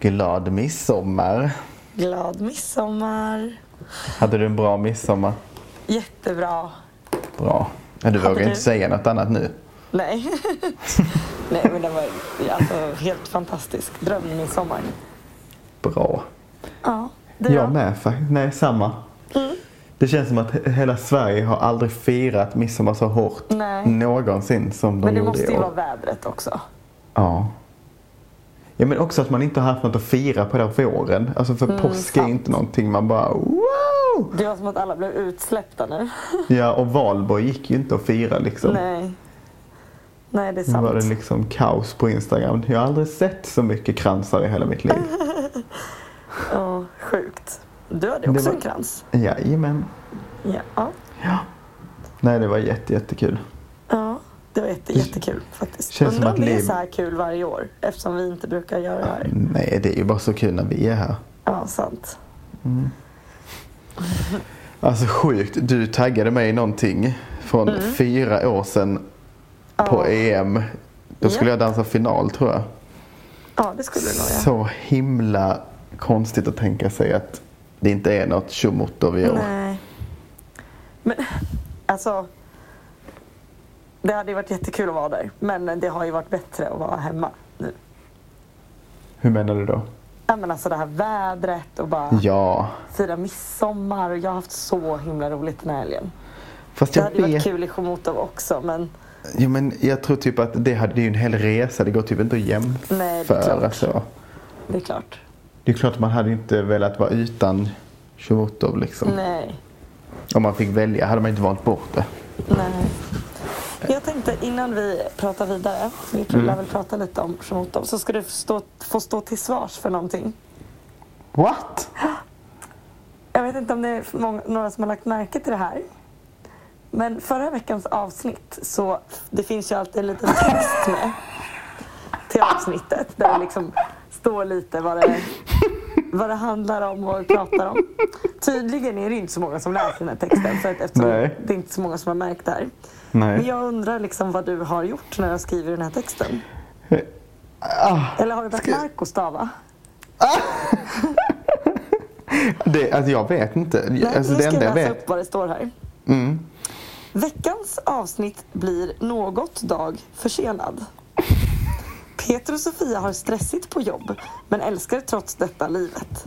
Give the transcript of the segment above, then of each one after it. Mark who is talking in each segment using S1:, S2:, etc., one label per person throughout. S1: Glad midsommar.
S2: Glad midsommar.
S1: Hade du en bra midsommar?
S2: Jättebra.
S1: Bra. Men du vågar
S2: du?
S1: inte säga något annat nu.
S2: Nej. Nej men det var alltså helt fantastisk. Drömmen i sommar.
S1: Bra.
S2: Ja. Mm. Du
S1: Jag
S2: då?
S1: med faktiskt. Nej, samma. Det känns som att he- hela Sverige har aldrig firat midsommar så hårt
S2: Nej.
S1: någonsin som de
S2: Men det
S1: gjorde
S2: måste
S1: i
S2: ju
S1: år.
S2: vara vädret också.
S1: Ja. Ja men också att man inte har haft något att fira på den här våren. Alltså för påsk är ju
S2: Mm, sant.
S1: inte någonting man bara wow!
S2: Det var som att alla blev utsläppta nu.
S1: Ja och valborg gick ju inte att fira liksom.
S2: Nej. Nej det är
S1: Nu
S2: sant.
S1: var det liksom kaos på Instagram. Jag har aldrig sett så mycket kransar i hela mitt liv.
S2: Ja, sjukt. Du hade också
S1: var-
S2: en krans.
S1: Jajamän.
S2: Ja. Ja.
S1: Ja. Nej det var jätte, jättekul.
S2: ja. Det var jätte, jättekul faktiskt.
S1: Känns som
S2: Undrar
S1: att
S2: om det är
S1: liv-
S2: så här kul varje år eftersom vi inte brukar göra det här.
S1: Nej det är ju bara så kul när vi är här.
S2: Ja, sant.
S1: Alltså sjukt, du taggade mig i någonting från fyra år sedan på
S2: Mm. Ja.
S1: EM. Då skulle
S2: Ja.
S1: jag dansa final tror jag.
S2: Ja, det skulle du nog göra.
S1: Så himla konstigt att tänka sig att det inte är något tjomotter vi gör.
S2: Nej. Men alltså. Det hade ju varit jättekul att vara där. Men det har ju varit bättre att vara hemma nu.
S1: Hur menar du då?
S2: Ja, men alltså det här vädret och bara
S1: Ja,
S2: fira midsommar. Och jag har haft så himla roligt den här helgen.
S1: fast
S2: Det
S1: jag
S2: hade ju varit
S1: vet...
S2: kul i Chomutov också men
S1: Jo, men jag tror typ att det, hade, det är ju en hel resa, det går typ inte att
S2: Nej, det är
S1: jämföra.
S2: klart.
S1: så.
S2: det är klart.
S1: Det är klart att man hade ju inte velat vara utan tjomotter liksom.
S2: Nej.
S1: Om man fick välja hade man inte valt bort det.
S2: Nej. Jag tänkte innan vi pratar vidare, vi lär
S1: Mm.
S2: väl prata lite om Chomutov, så ska du stå, få stå till svars för någonting.
S1: What?
S2: Jag vet inte om det är för många, några som har lagt märke till det här. Men förra veckans avsnitt så det finns ju alltid en liten text med till avsnittet där det liksom står lite vad det, vad det handlar om och vad vi pratar om. Tydligen är det inte så många som läser den här texten för att eftersom
S1: Nej.
S2: det är inte så många som har märkt det här. Men
S1: Nej.
S2: jag undrar liksom vad du har gjort när jag skriver den här texten.
S1: Ah,
S2: Eller har du börjat narkostava?
S1: det, alltså jag vet inte.
S2: Nej,
S1: alltså,
S2: nu
S1: det
S2: ska jag
S1: enda jag
S2: läsa
S1: vet...
S2: upp vad det står här.
S1: Mm.
S2: Veckans avsnitt blir något dag försenad. Peter och Sofia har stressigt på jobb, men älskar trots detta livet.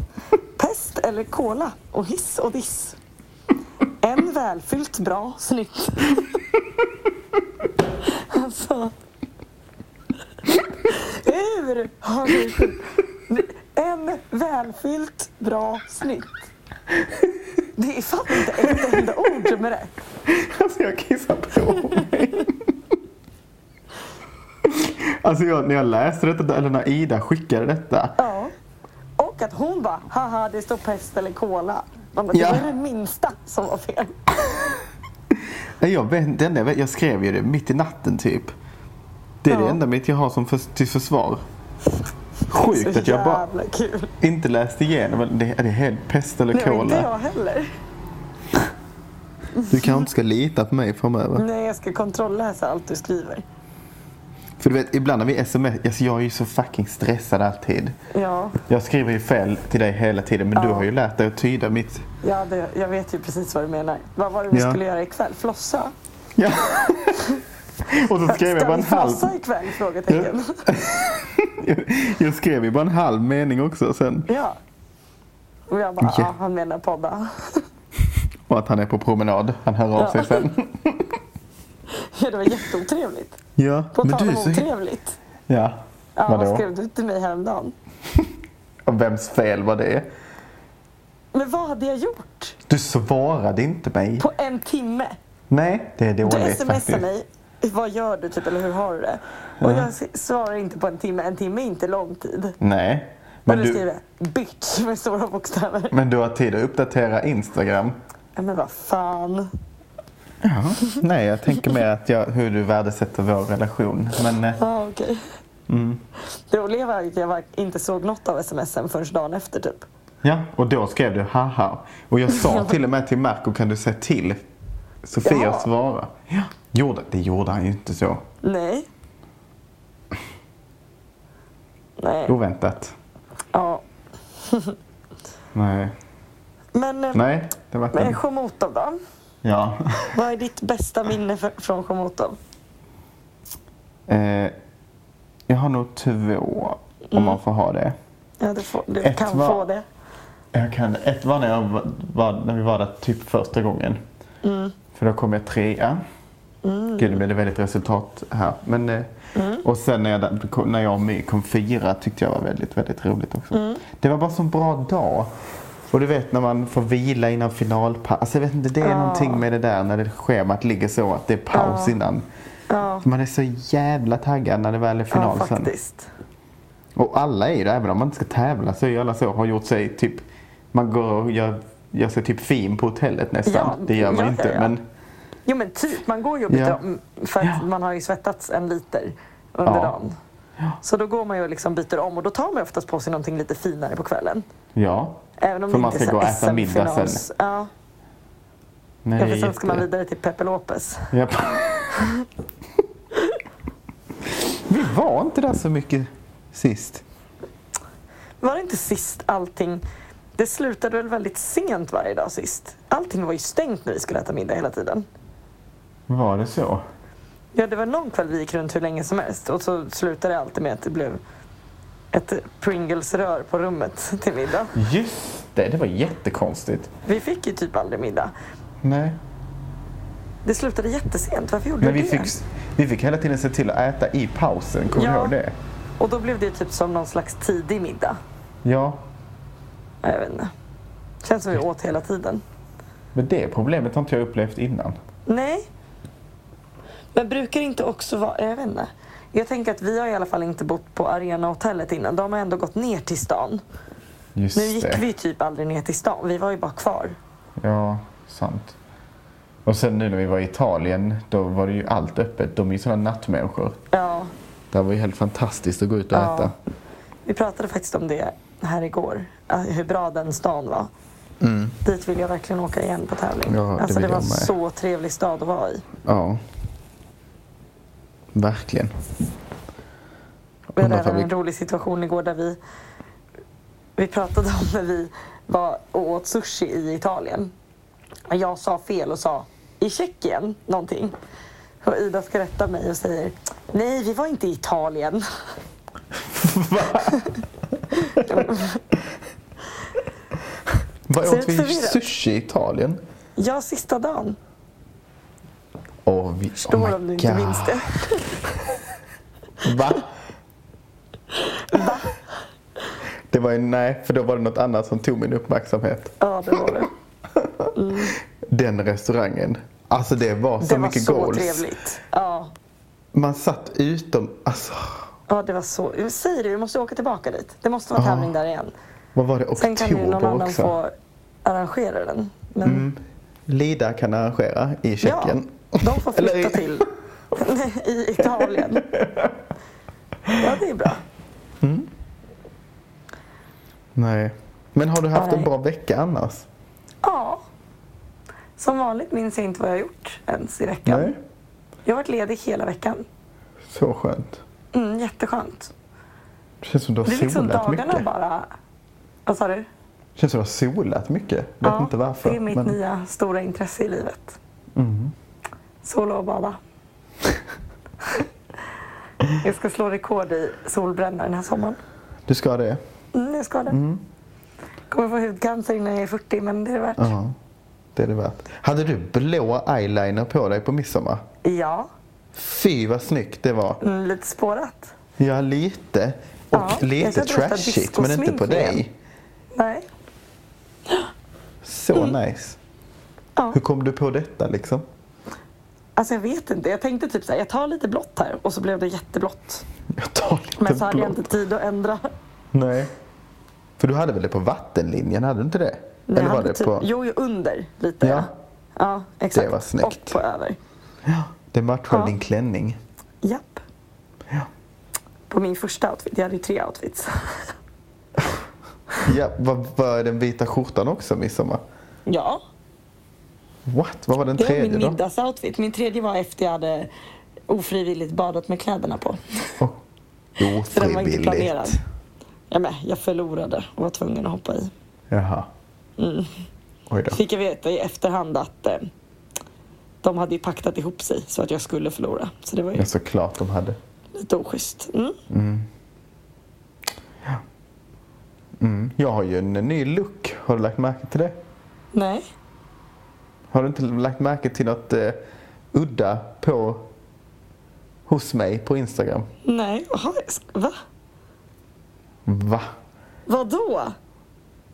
S2: Pest eller kola och hiss och diss. En välfyllt bra, snyggt. Alltså... Hur har du... En välfyllt bra, snyggt. Det är fan inte ett enda ord som är rätt.
S1: Alltså jag kissar på mig. Alltså jag, när jag läste detta, eller när Ida skickade detta.
S2: Ja. Och att hon bara, haha det står pest eller kola. Man bara,
S1: Ja.
S2: Det var det minsta som var fel.
S1: Nej, Jag, vet, det enda jag, vet, jag skrev ju det mitt i natten typ. Det är det
S2: Ja.
S1: enda mitt jag har som för, till försvar. Sjukt
S2: Så
S1: att jag bara
S2: jävla kul.
S1: inte läste igenom. men Det, det är helt pest eller
S2: Nej, men inte
S1: kola.
S2: jag heller.
S1: Du kanske inte ska lita på mig framöver.
S2: Nej, jag ska kontrollläsa allt du skriver.
S1: För du vet, ibland när vi sms, alltså jag är ju så fucking stressad alltid.
S2: Ja,
S1: Jag skriver ju fel till dig hela tiden men du
S2: Ja.
S1: har ju lärt dig att tyda mitt...
S2: ja det, jag vet ju precis vad du menar. Vad var det vi
S1: Ja.
S2: skulle göra ikväll? Flossa?
S1: Ja. Och så skrev jag
S2: ska
S1: bara
S2: vi
S1: en halv...
S2: flossa ikväll? Frågetecken.
S1: Jag skrev ju bara en halv mening också sen.
S2: ja. Och jag bara,
S1: Ja.
S2: ja han menar podda.
S1: Och att han är på promenad. Han hör av
S2: Ja.
S1: sig sen.
S2: Ja, det var jätteotrevligt.
S1: Ja,
S2: På
S1: men
S2: tal
S1: du är
S2: om
S1: så... hi-
S2: otrevligt.
S1: Ja.
S2: Ja,
S1: Vadå?
S2: vad skrev du till mig häromdagen?
S1: Och vems fel var det?
S2: Men vad hade jag gjort?
S1: Du svarade inte mig.
S2: På en timme?
S1: Nej, det är
S2: Du
S1: dåligt
S2: smsar
S1: faktiskt. Mm.
S2: mig, vad gör du typ eller hur har du det? Och jag s- svarar inte på en timme, en timme är inte lång tid.
S1: Nej. Men
S2: Men du
S1: du,
S2: skriver bitch med stora bokstäver.
S1: men du har tid att uppdatera Instagram.
S2: Ja, Men vad fan.
S1: Ja. Nej, jag tänker mer att jag, hur du värdesätter vår relation. Men eh,
S2: Ja ah, okej.
S1: Mm.
S2: Det roliga var att jag var- inte såg något av smsen förrän dagen efter typ.
S1: ja, och då skrev du haha. Och jag sa till och med till Marco, kan du se till Sofia
S2: Ja.
S1: att svara? Ja. Gjorde, det gjorde han ju inte så.
S2: Nej. Nej.
S1: Oväntat.
S2: Ja.
S1: Nej.
S2: Men, eh,
S1: Nej, det var
S2: men
S1: den.
S2: Chomutov då?
S1: Ja.
S2: Vad är ditt bästa minne för, från Chomutov?
S1: Eh, jag har nog två, om
S2: Mm.
S1: man får ha det.
S2: Ja, du får, du
S1: Ett
S2: kan
S1: var-
S2: få det.
S1: Jag kan, ett var när, jag var- var när vi var där typ första gången.
S2: Mm.
S1: För då kom jag trea. Gud, nu blev det väldigt resultat här. Men, eh,
S2: Mm.
S1: Och sen när jag, där- kom- när jag och My kom fyra tyckte jag var väldigt, väldigt roligt också.
S2: Mm.
S1: Det var bara en sån bra dag. Och du vet när man får vila innan finalpaus. Alltså jag vet inte, det är någonting med det där när det schemat ligger så att det är paus innan.
S2: Ja,
S1: Man är så jävla taggad när det väl är final
S2: ja
S1: sen.
S2: faktiskt.
S1: Och alla är ju det, även om man inte ska tävla så är ju alla så, har gjort sig typ, man går och gör, gör sig typ fin på hotellet nästan.
S2: Ja,
S1: det gör man
S2: ja,
S1: inte.
S2: ja, ja.
S1: Men,
S2: Jo men typ, man går ju och byter
S1: Ja.
S2: om för att
S1: Ja.
S2: man har ju svettats en liter under
S1: Ja.
S2: dagen. Så då går man ju och liksom byter om och då tar man ju oftast på sig någonting lite finare på kvällen.
S1: ja.
S2: Även om
S1: För
S2: det
S1: man
S2: inte
S1: ska
S2: är
S1: gå och äta middag sen.
S2: SM-finals. Ja,
S1: Nej,
S2: ja
S1: det
S2: för
S1: är
S2: sen ska man
S1: jätte-
S2: vidare till Pepe Lopez.
S1: Japp. Vi var inte där så mycket sist.
S2: Var det inte sist allting... Det slutade väl väldigt sent varje dag sist? Allting var ju stängt när vi skulle äta middag hela tiden.
S1: Var det så?
S2: Ja, det var någon kväll vi gick runt hur länge som helst och så slutade det alltid med att det blev ett Pringles-rör på rummet till middag.
S1: Just det, det var jättekonstigt.
S2: Vi fick ju typ aldrig middag.
S1: Nej.
S2: Det slutade jättesent, varför gjorde
S1: Men
S2: du
S1: vi
S2: det?
S1: fick, vi fick hela tiden se till att äta i pausen, kommer du
S2: Ja.
S1: ihåg det?
S2: Och då blev det ju typ som någon slags tidig middag.
S1: Ja,
S2: Ja, Jag vet inte. Känns som vi åt hela tiden.
S1: men det problemet har inte jag upplevt innan.
S2: Nej. Men brukar det inte också vara... Jag vet inte. Jag tänker att vi har i alla fall inte bott på Arenahotellet innan. De har ändå gått ner till stan.
S1: Just
S2: Nu gick
S1: det.
S2: vi ju typ aldrig ner till stan. Vi var ju bara kvar.
S1: Ja, sant. Och sen nu när vi var i Italien, då var det ju allt öppet. De är ju sådana nattmänniskor.
S2: Ja,
S1: Det var ju helt fantastiskt att gå ut och
S2: Ja.
S1: äta.
S2: vi pratade faktiskt om det här igår. eh, Hur bra den stan var. Dit vill jag verkligen åka igen på tävling.
S1: Mm. Ja, det
S2: alltså det
S1: vill
S2: var
S1: jag med.
S2: så trevlig stad att vara i.
S1: Ja. Verkligen.
S2: Vi hade
S1: Undrar ifall
S2: även en
S1: vi-
S2: rolig situation igår där vi, vi pratade om när vi var och åt sushi i Italien. Och Jag sa fel och sa i Tjeckien någonting. Och Ida ska rätta mig och säger nej, vi var inte i Italien.
S1: Vad
S2: Ser
S1: åt
S2: ut
S1: vi
S2: förvirrat.
S1: sushi i Italien?
S2: Ja, sista dagen.
S1: Åh, vi...
S2: Förstår
S1: oh my
S2: om du inte
S1: God.
S2: minns det.
S1: Va? Det var ju nej, för då var det något annat som tog min uppmärksamhet.
S2: Ja, det var det.
S1: Den restaurangen. Alltså det var så
S2: Det var
S1: mycket
S2: så
S1: goals.
S2: trevligt. Ja.
S1: Man satt utom... Alltså,
S2: ja, det var så. Jag säger det, vi måste åka tillbaka dit. Det måste vara
S1: Ja.
S2: tävling där igen.
S1: vad var det?
S2: Sen kan ju någon
S1: Oktober
S2: annan
S1: också.
S2: få arrangera den. Men...
S1: Lida kan arrangera i Tjeckien.
S2: Ja, de får flytta
S1: Eller i-
S2: till i Italien. Ja, det är bra.
S1: Nej. Men har du haft en
S2: Nej.
S1: bra vecka annars?
S2: Ja. Som vanligt minns jag inte vad jag har gjort ens i veckan.
S1: Nej.
S2: Jag har varit ledig hela veckan.
S1: Så skönt.
S2: Mm, jätteskönt.
S1: Det känns som du har
S2: Det är liksom
S1: solat
S2: dagarna
S1: mycket.
S2: bara... Vad sa du?
S1: Det känns som du har solat mycket. Vet
S2: Ja,
S1: inte varför.
S2: Det är mitt
S1: men... Mm.
S2: nya stora intresse i livet. Sola och bada. jag ska slå rekord i solbränna den här sommaren.
S1: Du ska det?
S2: Mm, jag ska det. Kommer få hudcancer innan jag är 40, men det är det värt.
S1: Ja. Det är det värt. Hade du blå eyeliner på dig på midsommar?
S2: Ja,
S1: Fy vad snyggt det var.
S2: mm, lite spårat.
S1: Ja, lite. Och
S2: Ja, jag
S1: lite
S2: ska testa
S1: trashigt, men inte på
S2: discosmink igen.
S1: dig.
S2: Nej.
S1: Så nice.
S2: Mm. Ja.
S1: Hur kom du på detta liksom?
S2: Alltså jag vet inte. Jag tänkte typ så här, jag tar lite blått här och så blev det jätteblått.
S1: Jag tar lite
S2: Men så hade jag
S1: Typ blått.
S2: inte tid att ändra.
S1: Nej. För du hade väl det på vattenlinjen, hade du inte det?
S2: Nej, jag
S1: Eller var
S2: hade
S1: det
S2: typ,
S1: på...
S2: Jo, ju under lite.
S1: Ja.
S2: Ja, ja exakt.
S1: Det var snyggt.
S2: Och på över.
S1: Ja, det matchade
S2: Ja.
S1: din klänning.
S2: Japp.
S1: Ja.
S2: På min första outfit. Jag hade ju tre outfits.
S1: Ja, vad var den vita skjortan också midsommar?
S2: Ja,
S1: What? Vad var den
S2: det var
S1: tredje
S2: min
S1: då?
S2: middagsoutfit. Min tredje var efter jag hade ofrivilligt badat med kläderna på.
S1: Oh.
S2: Så den var inte
S1: Ofrivilligt.
S2: planerad. Jag med, jag förlorade och var tvungen att hoppa i.
S1: Jaha.
S2: Mm.
S1: Oj då.
S2: Fick jag veta i efterhand att eh, de hade ju paktat ihop sig så att jag skulle förlora. Så det var ju
S1: Ja, såklart de hade.
S2: lite oschysst. Mm.
S1: Mm. Jag har ju en ny look. Har du lagt märke till det?
S2: Nej.
S1: Har du inte lagt märke till något eh, udda på hos mig på Instagram?
S2: Nej. Jaha, jag sk- va?
S1: Va?
S2: Vadå?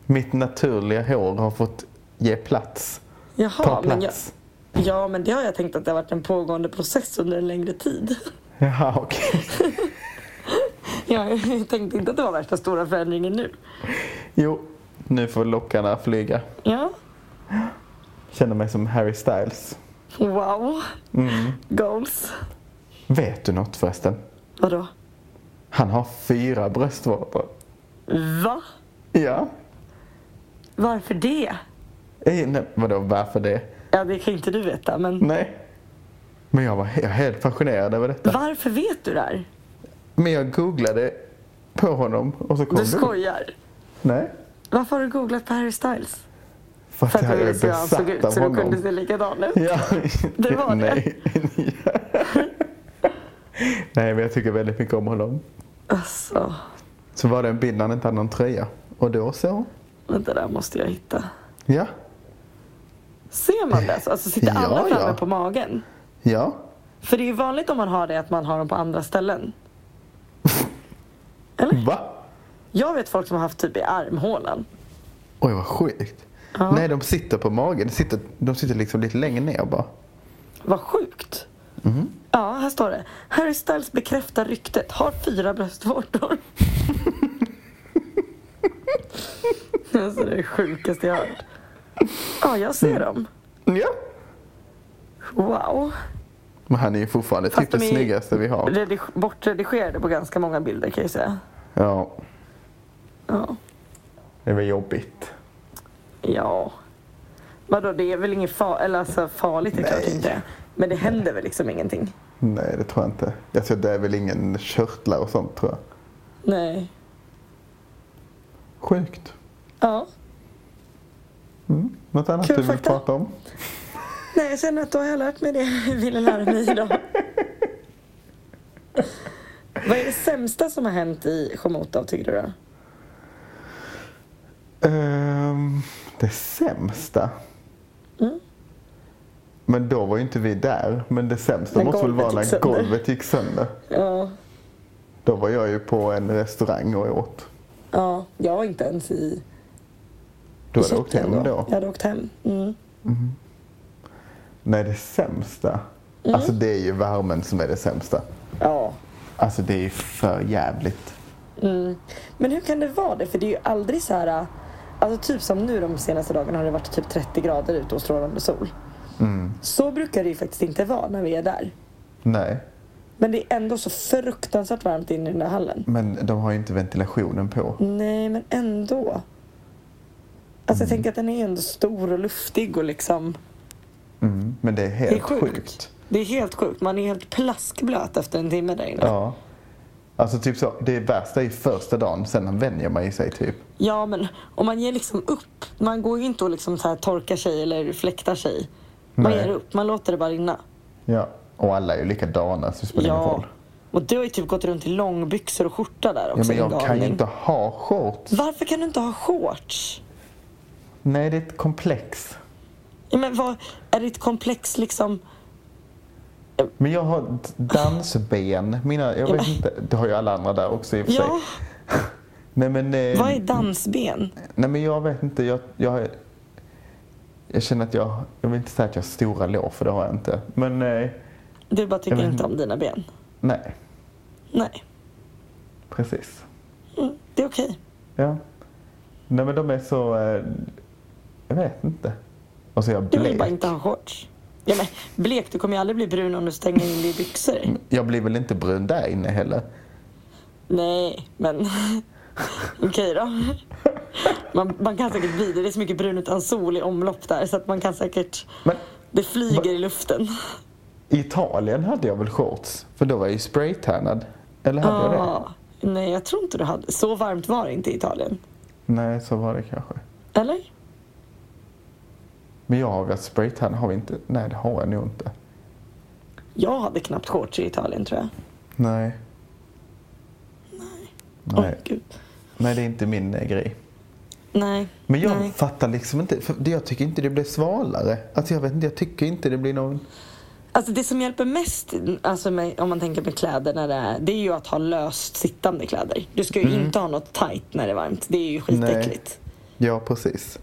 S1: Mitt naturliga hår har fått ge plats.
S2: Jaha,
S1: Ta
S2: men jag,
S1: plats.
S2: ja, men det har jag tänkt att det har varit en pågående process under en längre tid.
S1: Jaha, okej.
S2: Ja, jag tänkte inte att det var värsta stora förändringen nu.
S1: Jo, nu får lockarna flyga.
S2: Ja.
S1: Känner mig som Harry Styles. Mm.
S2: Wow. Goals.
S1: Vet du något förresten?
S2: Vadå?
S1: Han har fyra bröstvårtor.
S2: Va?
S1: Ja.
S2: Varför det?
S1: Eh, nej, vadå, varför det?
S2: Ja, det kan inte du veta, men
S1: Nej. Men jag var he- jag var helt fascinerad över detta.
S2: varför vet du det här?
S1: Men jag googlade på honom och så kom
S2: Du
S1: det upp.
S2: skojar.
S1: Nej.
S2: Varför har du googlat på Harry Styles?
S1: För att,
S2: För att
S1: jag
S2: du
S1: är
S2: ville se hur han såg
S1: besatt
S2: ut,
S1: av
S2: så du
S1: honom.
S2: kunde se likadan ut.
S1: Ja.
S2: Det var det.
S1: Nej. Nej, men jag tycker väldigt mycket om honom.
S2: Alltså,
S1: Så var det en bild när han inte hade någon tröja. Och då så.
S2: vänta, där måste jag hitta.
S1: Ja.
S2: Ser man det? så? Alltså, sitter
S1: Ja,
S2: alla framme
S1: ja.
S2: på magen?
S1: Ja.
S2: För det är ju vanligt om man har det att man har dem på andra ställen.
S1: Va?
S2: Jag vet folk som har haft typ i armhålan.
S1: Oj, vad sjukt.
S2: Ja.
S1: Nej, de sitter på magen. De sitter, de sitter liksom lite längre ner bara.
S2: Vad sjukt.
S1: Mm-hmm.
S2: Ja, här står det. Harry Styles bekräftar ryktet. Har fyra bröstvårtor. alltså, det är det sjukaste jag har hört. Ja, jag
S1: Mm.
S2: ser dem.
S1: Ja.
S2: Wow.
S1: Men han är ju fortfarande
S2: Fast
S1: typ det
S2: de är-
S1: snyggaste vi har.
S2: Redig- bortredigerade på ganska många bilder kan jag säga.
S1: Ja.
S2: Ja.
S1: Det var jobbigt.
S2: ja. Vadå, det är väl inget far- eller alltså, farligt? Det är klart
S1: Nej.
S2: inte. Men det händer väl liksom ingenting?
S1: Nej, det tror jag inte. Jag tror det är väl ingen körtlar och sånt tror jag.
S2: Nej.
S1: Sjukt.
S2: Ja.
S1: Något annat
S2: Kul
S1: du vill
S2: fakta.
S1: prata om?
S2: Nej, jag känner att då har jag lärt mig det jag ville lära mig idag. Vad är det sämsta som har hänt i Chomotov tycker du då?
S1: Ehm, det sämsta?
S2: Mm.
S1: Men då var ju inte vi där. Men det sämsta
S2: När
S1: måste väl vara
S2: golvet gick
S1: när
S2: sönder.
S1: golvet gick sönder.
S2: Ja,
S1: Då var jag ju på en restaurang och åt.
S2: ja jag var inte ens i
S1: Du
S2: i
S1: hade åkt
S2: Tjeckien
S1: hem då?
S2: Jag hade åkt hem. Mm.
S1: Nej, det sämsta.
S2: Mm.
S1: Alltså det är ju värmen som är det sämsta.
S2: Ja.
S1: Alltså det är ju för jävligt.
S2: Mm. Men hur kan det vara det? För det är ju aldrig så här... äh, Alltså typ som nu de senaste dagarna har det varit typ 30 grader ute och strålande sol.
S1: Mm.
S2: Så brukar det ju faktiskt inte vara när vi är där.
S1: Nej,
S2: Men det är ändå så fruktansvärt varmt inne i den där hallen.
S1: men de har ju inte ventilationen på.
S2: Nej, men ändå. Alltså jag tänker att den är ändå stor och luftig och liksom...
S1: Mm. Men det är helt
S2: Det är sjukt.
S1: sjukt.
S2: Det är helt sjukt. Man är helt plaskblöt efter en timme där inne. Ja,
S1: Ja. Alltså typ så, det värsta är ju första dagen, sen vänjer man ju sig typ.
S2: men om man ger liksom upp. Man går ju inte och liksom så här torkar sig eller fläktar sig. Man
S1: Nej.
S2: ger upp. Man låter det bara rinna.
S1: Ja. Och alla är ju likadana så det spelar ingen roll.
S2: Och du har ju typ gått runt i långbyxor och skjorta där
S1: Ja,
S2: också.
S1: men jag
S2: din
S1: kan ju
S2: galning.
S1: inte ha shorts.
S2: Varför kan du inte ha shorts?
S1: Nej, det är ett komplex.
S2: Ja, men vad, är ditt komplex liksom...
S1: Men jag har d- dansben. Mina, jag
S2: Ja,
S1: vet
S2: men-
S1: inte, det har ju alla andra där också i och för
S2: Ja,
S1: sig. Nej men, eh,
S2: vad är dansben?
S1: nej men jag vet inte. Jag, jag, jag känner att jag, jag vill inte säga att jag har stora lår för det har jag inte. Men eh,
S2: Du bara
S1: Jag
S2: tycker
S1: vet
S2: inte
S1: inte.
S2: om dina ben.
S1: nej,
S2: Nej,
S1: precis.
S2: mm, det är okej.
S1: Ja. Nej men de är så, eh, jag vet inte. Och så är jag
S2: Du vill
S1: blek.
S2: bara inte ha shorts. Ja, men blek, du kommer ju aldrig bli brun om du stänger in dig i byxor.
S1: Jag blir väl inte brun där inne heller.
S2: Nej, men okej då. Man, man kan säkert bli det. Det är så mycket brun utan sol i omlopp där så att man kan säkert...
S1: Men
S2: Det flyger i luften.
S1: i Italien hade jag väl shorts? För då var jag ju spraytannad. Eller hade jag det?
S2: Ja, Ah, Nej, jag tror inte du hade. Så varmt var det inte i Italien.
S1: Nej, så var det kanske.
S2: Eller?
S1: Men jag har väl spraytan, har vi inte? Nej, det har jag nog inte.
S2: Jag hade knappt shorts i Italien tror jag.
S1: Nej. Nej.
S2: Åh
S1: Nej,
S2: gud.
S1: Nej det är inte min eh, grej.
S2: Nej.
S1: Men jag
S2: Nej.
S1: fattar liksom inte, för det- jag tycker inte det blir svalare. Alltså jag vet inte, jag tycker inte det blir någon...
S2: Alltså det som hjälper mest alltså med, om man tänker med kläder när det är, det är ju att ha löst sittande kläder. Du ska ju
S1: Mm.
S2: inte ha något tight när det är varmt. Det är ju skitäckligt.
S1: Ja, precis.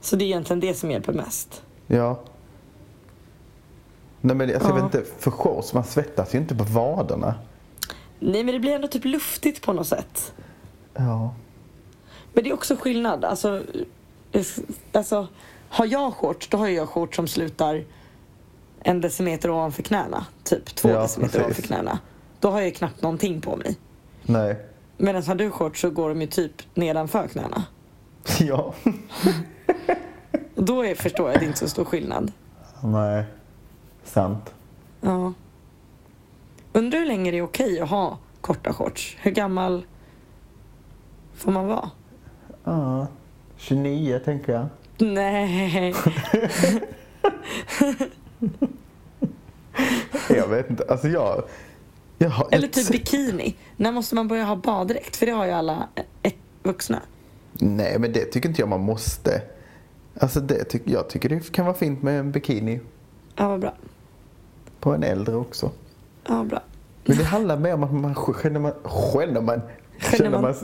S2: Så det är egentligen det som hjälper mest.
S1: Ja. Nej men alltså, jag
S2: Ja.
S1: vet inte, för shorts, man svettas ju inte på vaderna.
S2: Nej men det blir ändå typ luftigt på något sätt.
S1: Ja.
S2: Men det är också skillnad. Alltså, eh, alltså har jag shorts, då har jag shorts som slutar en decimeter ovanför knäna. Typ två
S1: Ja,
S2: decimeter
S1: precis.
S2: ovanför knäna. Då har jag ju knappt någonting på mig.
S1: Nej.
S2: Medan har du shorts så går de ju typ nedanför knäna.
S1: Ja.
S2: Och då är, förstår jag att det inte är så stor skillnad.
S1: Nej. Sant.
S2: Ja. Undrar hur länge det är okej att ha korta shorts. Hur gammal får man vara?
S1: Ja. 29 tänker jag.
S2: Nej.
S1: Jag vet inte, alltså jag... jag har
S2: Eller
S1: ett-
S2: typ bikini. När måste man börja ha baddräkt? För det har ju alla eh, vuxna.
S1: Nej men det tycker inte jag man måste. Alltså det tyck, jag tycker det kan vara fint med en bikini
S2: Ja, vad bra.
S1: på en äldre också.
S2: Ja, vad bra.
S1: Men det handlar mer om att man känner man, känner man, känner man,
S2: man-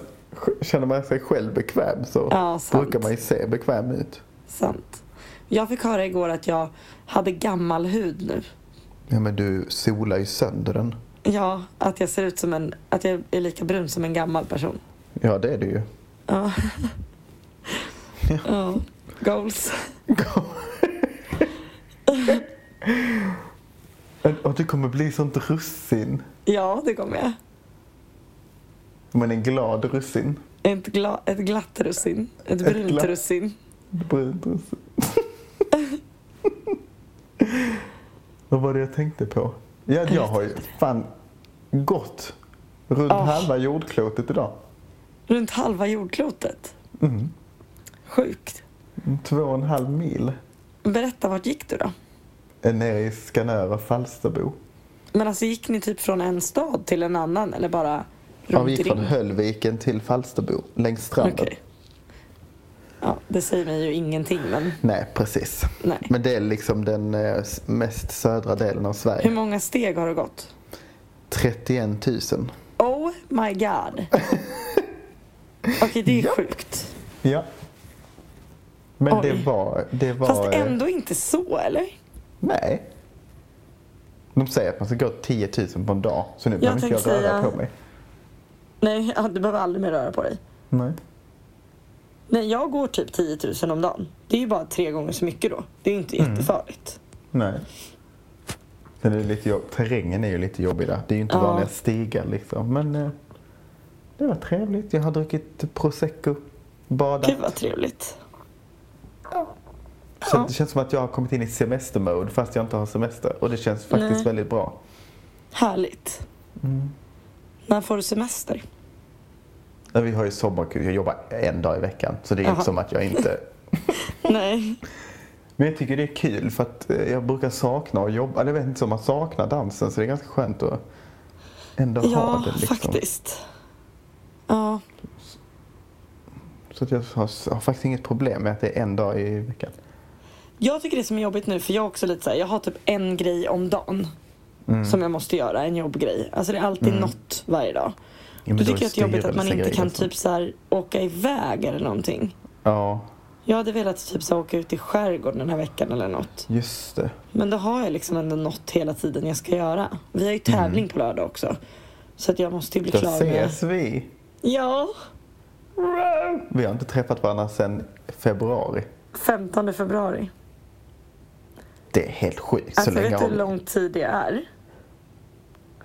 S1: känner man sig själv bekväm så
S2: Ja, sant.
S1: brukar man ju se bekväm ut.
S2: Sant. Jag fick höra igår att jag hade gammal hud nu.
S1: Ja men du solar ju sönder den.
S2: Ja, att jag ser ut som en... Att jag är lika brun som en gammal person.
S1: Ja det är det ju.
S2: Ja. ja. Goals.
S1: Och du kommer bli sånt russin.
S2: Ja, det kommer jag.
S1: Men en glad russin.
S2: Ett, gla, ett glatt russin. Ett brunt
S1: glatt-
S2: russin.
S1: Brunt russin. Vad var det jag tänkte på? Ja, jag har ju fan gått runt
S2: Ah.
S1: halva jordklotet idag.
S2: Runt halva jordklotet.
S1: Mm.
S2: Sjukt.
S1: Två och en halv mil
S2: Berätta, vart gick du då?
S1: är nere i Skanör och Falsterbo.
S2: Men alltså gick ni typ från en stad till en annan eller bara
S1: Ja,
S2: runt
S1: vi
S2: i
S1: gick från
S2: ring?
S1: Höllviken till Falsterbo längs stranden.
S2: Okej. Ja, det säger mig ju ingenting men
S1: Nej, precis.
S2: nej.
S1: Men det är liksom den eh, s- mest södra delen av
S2: Hur
S1: Sverige.
S2: många steg har du gått?
S1: 31 000.
S2: Oh my god. Okej, det är
S1: Ja.
S2: sjukt.
S1: Ja. Men det
S2: Oj.
S1: var... Det var
S2: Fast
S1: eh,
S2: ändå inte så eller?
S1: Nej. De säger att man ska gå 10 000 på en dag, så nu behöver inte jag
S2: tänkte
S1: röra
S2: säga-
S1: på mig.
S2: Nej, ja, du behöver aldrig mer röra på dig.
S1: Nej.
S2: Nej, jag går typ 10 000 om dagen. Det är ju bara tre gånger så mycket då. Det är ju inte
S1: Mm.
S2: jättefarligt.
S1: Nej. Sen är det lite jobb... Terrängen är ju lite jobbig där. Det är ju inte
S2: Ja.
S1: vanliga stigar liksom. Men eh, det var trevligt. Jag har druckit prosecco, badat.
S2: Gud vad trevligt.
S1: Så
S2: Ja.
S1: det känns som att jag har kommit in i semestermode fast jag inte har semester. Och det känns faktiskt
S2: Nej.
S1: väldigt bra.
S2: Härligt.
S1: Mm.
S2: När får du semester?
S1: Men Vi har ju sommarkul. Jag jobbar en dag i veckan. Så det är ju
S2: Jaha.
S1: inte som att jag inte...
S2: Nej.
S1: Men jag tycker det är kul för att eh, jag brukar sakna att jobba. Eller jag vet inte som man saknar dansen så det är ganska skönt att ändå ha
S2: Ja,
S1: det. Liksom.
S2: faktiskt. Ja,
S1: Så att jag har, har faktiskt inget problem med att det är en dag i veckan.
S2: Jag tycker det som är jobbigt nu, för jag är också lite så här, jag har typ en grej om dagen
S1: Mm.
S2: som jag måste göra, en jobbgrej. Alltså det är alltid något varje dag.
S1: Ja, Mm. men
S2: Då
S1: då är
S2: tycker jag att det är jobbigt att man inte
S1: styrelsegrejer
S2: kan
S1: och sånt.
S2: typ så här, åka iväg eller någonting.
S1: Ja,
S2: Jag hade velat typ så här, åka ut i skärgården den här veckan eller något.
S1: just det.
S2: Men då har jag liksom ändå något hela tiden jag ska göra. Vi har ju tävling på lördag också. Så att jag måste ju bli
S1: Då
S2: klar med...
S1: Mm. ses vi.
S2: Ja,
S1: Vi har inte träffat varandra sedan februari.
S2: 15 februari.
S1: Det är helt sjukt.
S2: Alltså
S1: så länge
S2: vet du
S1: har
S2: hur
S1: vi...
S2: lång tid det är?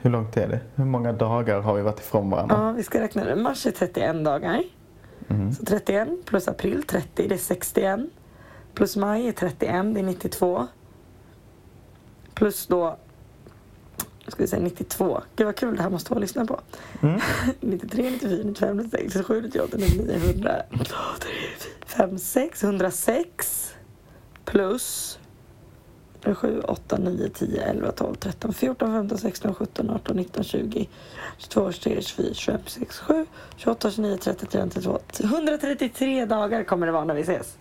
S1: hur långt är det? Hur många dagar har vi varit ifrån varandra?
S2: Ja, vi ska räkna det. Mars är 31 dagar. Så 31 plus april 30, det är 61. Plus maj är 31, det är 92. Plus då jag skulle säga 92. Gud vad kul det här måste vara att lyssna på. 93, 94, 95, 96, 97, 98, 99, 100, 2, 3, 4, 5, 6, 106 plus 7, 8, 9, 10, 11, 12, 13, 14, 15, 16, 17, 18, 19, 20, 22, 23, 24, 25, 26, 7, 28, 29, 30, 31, 32. 133 dagar kommer det vara när vi ses.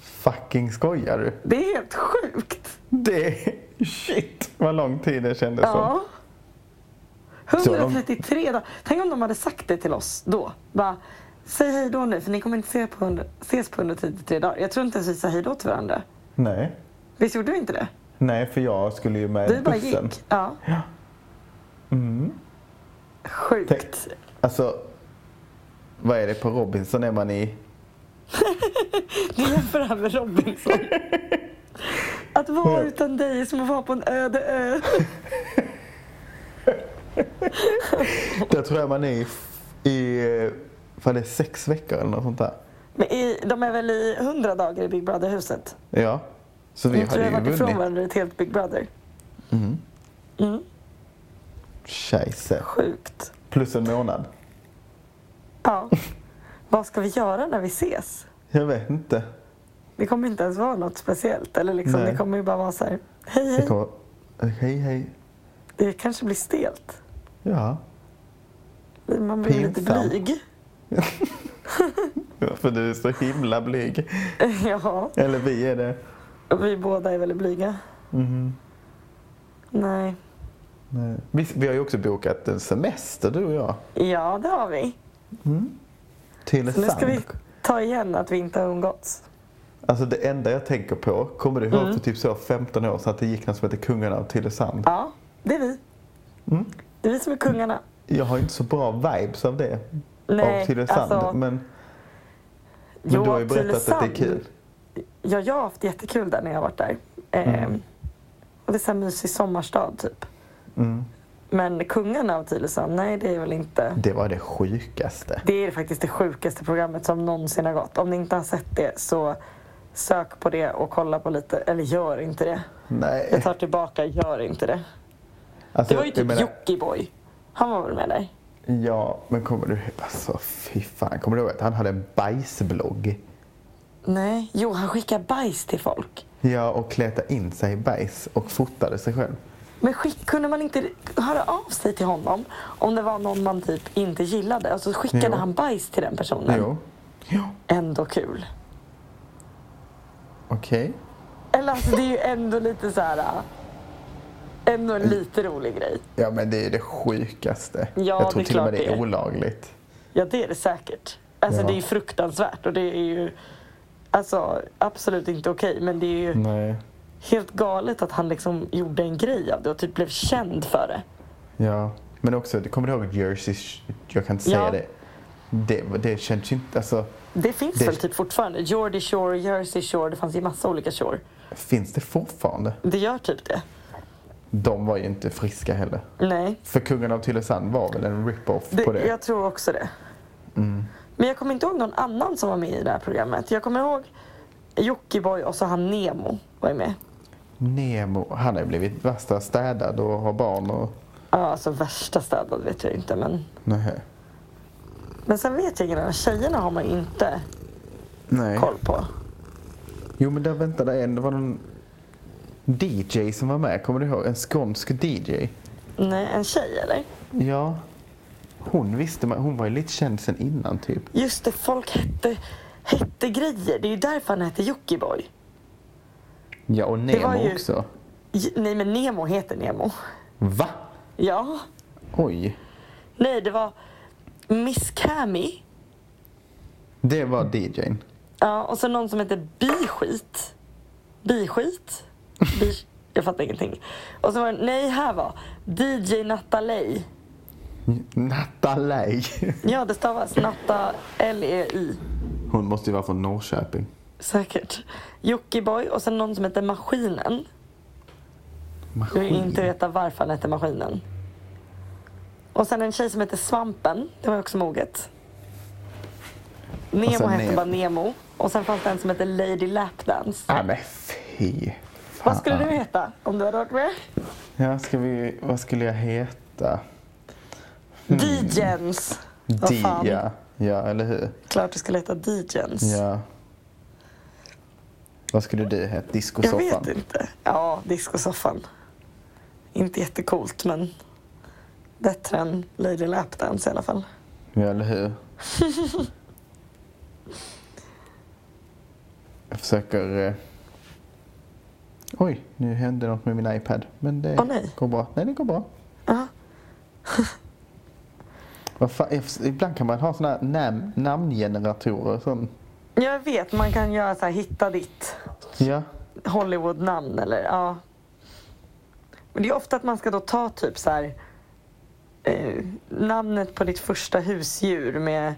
S1: Fucking skojar du?
S2: Det är helt sjukt!
S1: Det... Shit vad lång tid det kändes som.
S2: Ja. 133 dagar. Tänk om de hade sagt det till oss då. Bara, säg hej då nu för ni kommer inte se på 100, ses på 133 dagar. Jag tror inte ens vi sa hej då till varandra.
S1: Nej.
S2: Visst gjorde vi inte det?
S1: Nej, för jag skulle ju med
S2: Vi bara
S1: bussen. Mm.
S2: gick. Ja. Sjukt.
S1: Alltså, vad är det på Robinson är man i?
S2: Du jämför det här med Robinson. Att vara utan dig är som att vara på en öde ö.
S1: Där tror jag man är i, i eh, vad är det, sex veckor eller något sånt där.
S2: Men i, de är väl i 100 dagar i Big Brother-huset?
S1: Ja. Så vi
S2: Vi tror
S1: hade
S2: jag
S1: ju
S2: varit ifrån
S1: vunnit.
S2: varandra i ett helt Big Brother.
S1: Scheisse.
S2: Sjukt.
S1: Plus en månad.
S2: Ja. Vad ska vi göra när vi ses?
S1: Jag vet inte.
S2: Det kommer inte ens vara något speciellt. Eller liksom,
S1: Nej.
S2: det kommer ju bara vara så här, hej
S1: Det
S2: hej.
S1: kommer... Hej, hej.
S2: Det kanske blir stelt.
S1: Ja.
S2: Man blir lite
S1: Pinsamt.
S2: blyg.
S1: För du är så himla blyg.
S2: ja,
S1: Eller vi är det. Mhm.
S2: och vi båda är väldigt blyga. Nej.
S1: Nej. Vi, vi har ju också bokat en semester du och jag.
S2: Ja, det har vi.
S1: Till
S2: Så nu ska
S1: Sand.
S2: vi ta igen att vi inte har umgåtts.
S1: Alltså det enda jag tänker på, kommer du ihåg
S2: Mm.
S1: för typ så 15 år sedan att det gick något som hette Kungarna av Tylösand?
S2: Ja, det är vi.
S1: Mm.
S2: Det är vi som är kungarna.
S1: Jag har inte så bra vibes av det.
S2: Nej,
S1: av Tylösand.
S2: alltså,
S1: men men du har ju berättat att det är
S2: Tylösand.
S1: kul.
S2: Ja, jag har haft jättekul där när jag har varit där. Ehm,
S1: Mm.
S2: Och det är så här mysig sommarstad typ.
S1: Mm.
S2: Men kungarna av Tylösand, nej det är väl inte.
S1: Det var det sjukaste.
S2: Det är faktiskt det sjukaste programmet som någonsin har gått. Om ni inte har sett det så sök på det och kolla på lite. Eller gör inte det. Jag
S1: Nej.
S2: tar tillbaka, gör inte det.
S1: Alltså,
S2: Det var ju
S1: jag
S2: typ
S1: menar-
S2: Jockiboi. Han var väl med där?
S1: Ja, men kommer du Alltså fy fan. Kommer du ihåg att han hade en bajsblogg?
S2: Nej. Jo, han skickar bajs till folk.
S1: Ja, och kläta in sig i bajs och fotade sig själv.
S2: Men skick, kunde man inte höra av sig till honom om det var någon man typ inte gillade? Och så skickade
S1: Jo.
S2: han bajs till den personen.
S1: Jo. Ja.
S2: Ändå kul.
S1: Okej.
S2: Eller alltså det är ju ändå lite så här... äh, Ändå en lite rolig grej.
S1: Ja, men det är det sjukaste.
S2: Ja,
S1: jag tror
S2: det är
S1: till och med
S2: klart
S1: det
S2: det
S1: är
S2: är.
S1: olagligt.
S2: Ja, det är det säkert. Alltså
S1: Ja.
S2: det är ju fruktansvärt och det är ju alltså, absolut inte okej. men det är ju
S1: Nej.
S2: helt galet att han liksom gjorde en grej av det och typ blev känd för det.
S1: Ja, men också, kommer du ihåg Jersey? Sh- Jag kan inte säga
S2: Ja.
S1: det. det. Det känns ju inte, alltså,
S2: Det finns
S1: Det-
S2: väl typ fortfarande? Jordy Shore, Jersey Shore, det fanns ju massa olika Shore.
S1: finns det fortfarande?
S2: Det gör typ det.
S1: De var ju inte friska heller.
S2: Nej,
S1: För Kungen av Tylösand var väl en rip-off
S2: det,
S1: på det? Mm.
S2: jag tror också det. Men jag kommer inte ihåg någon annan som var med i det här programmet. Jag kommer ihåg Jockiboi och så han Nemo var ju med.
S1: Nemo, han har ju blivit värsta städad och har barn och...
S2: Ja, alltså värsta städad vet jag inte men.
S1: Nej.
S2: Men sen vet jag inte, tjejerna har man ju inte
S1: Nej.
S2: koll på.
S1: Jo men där väntade en, det var någon DJ som var med, kommer du ihåg? En skånsk DJ.
S2: Nej, en tjej eller?
S1: Ja. Hon visste man, hon var ju lite känd sen innan typ.
S2: Just det, folk hette, hette grejer. Det är ju därför han hette Jockiboi.
S1: Ja och
S2: var
S1: Nemo
S2: ju-
S1: också.
S2: J- Nej, men Nemo heter Nemo.
S1: Va?
S2: Ja.
S1: Oj.
S2: Nej, det var Miss Cammy.
S1: Det var DJn.
S2: Ja, och så någon som hette Biskit. Biskit? Bi... Jag fattar ingenting. Och så var det, nej, här var DJ Nattalej.
S1: Nathalie.
S2: Ja, det stavas Natta E L-E-I.
S1: Hon måste ju vara från Norrköping.
S2: Säkert. Jockiboi och sen någon som hette Maskinen. Jag vill inte veta varför han hette Maskinen. Och sen en tjej som hette Svampen. Det var ju också moget.
S1: Och
S2: Nemo
S1: sen
S2: hette
S1: Nemo.
S2: bara Nemo. Och sen fanns det en som hette Lady Lapdance.
S1: Nej men fy.
S2: Vad skulle du heta om du hade varit med?
S1: Ja, ska vi, vad skulle jag heta?
S2: Digens! Vad fan.
S1: Dia. Mm. Ja, eller hur?
S2: Klart du skulle heta Digens.
S1: Ja. Vad skulle du heta?
S2: Jag
S1: Discosoffan?
S2: vet inte. Ja, discosoffan. Inte jättecoolt, men bättre än Lady Lapdance i alla fall.
S1: Ja, eller hur? jag försöker... Eh... Oj, nu hände något med min iPad. Men det
S2: Åh, nej.
S1: går bra. Nej, det går bra.
S2: Ja.
S1: Vad fan, jag förs- ibland kan man ha såna här nam- namngeneratorer. och Sån.
S2: Jag vet, man kan göra så här, hitta ditt
S1: Ja,
S2: Hollywood-namn eller ja. Men det är ofta att man ska då ta typ så här eh, namnet på ditt första husdjur med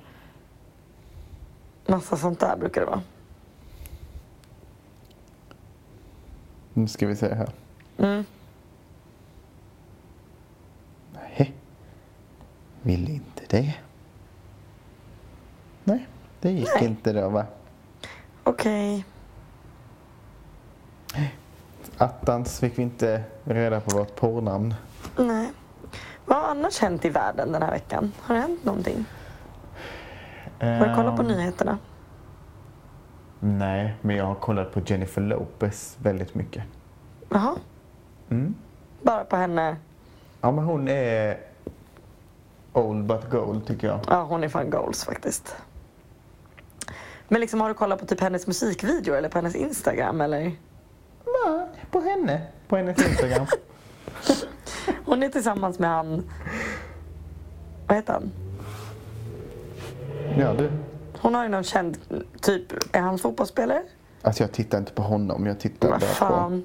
S2: massa sånt där brukar det vara.
S1: nu ska vi se här.
S2: Mm.
S1: Nej. Vill inte det. Nej, det gick
S2: Nej.
S1: inte då va?
S2: Okej.
S1: Attans fick vi inte reda på vårt porrnamn.
S2: Nej. Vad har annars hänt i världen den här veckan? Har det hänt någonting? Har du kollat på
S1: Ehm,
S2: nyheterna?
S1: Nej, men jag har kollat på Jennifer Lopez väldigt mycket.
S2: Jaha.
S1: Mm.
S2: Bara på henne.
S1: Ja, men hon är old but gold tycker jag.
S2: Ja, hon är fan goals faktiskt. Men liksom, har du kollat på typ hennes musikvideo eller på hennes Instagram eller?
S1: Va? På henne? På hennes Instagram?
S2: Hon är tillsammans med han... Vad heter han?
S1: ja, du.
S2: Hon har ju någon känd... Typ, är han fotbollsspelare?
S1: Alltså jag tittar inte på honom, jag tittar
S2: Vad
S1: bara på...
S2: fan.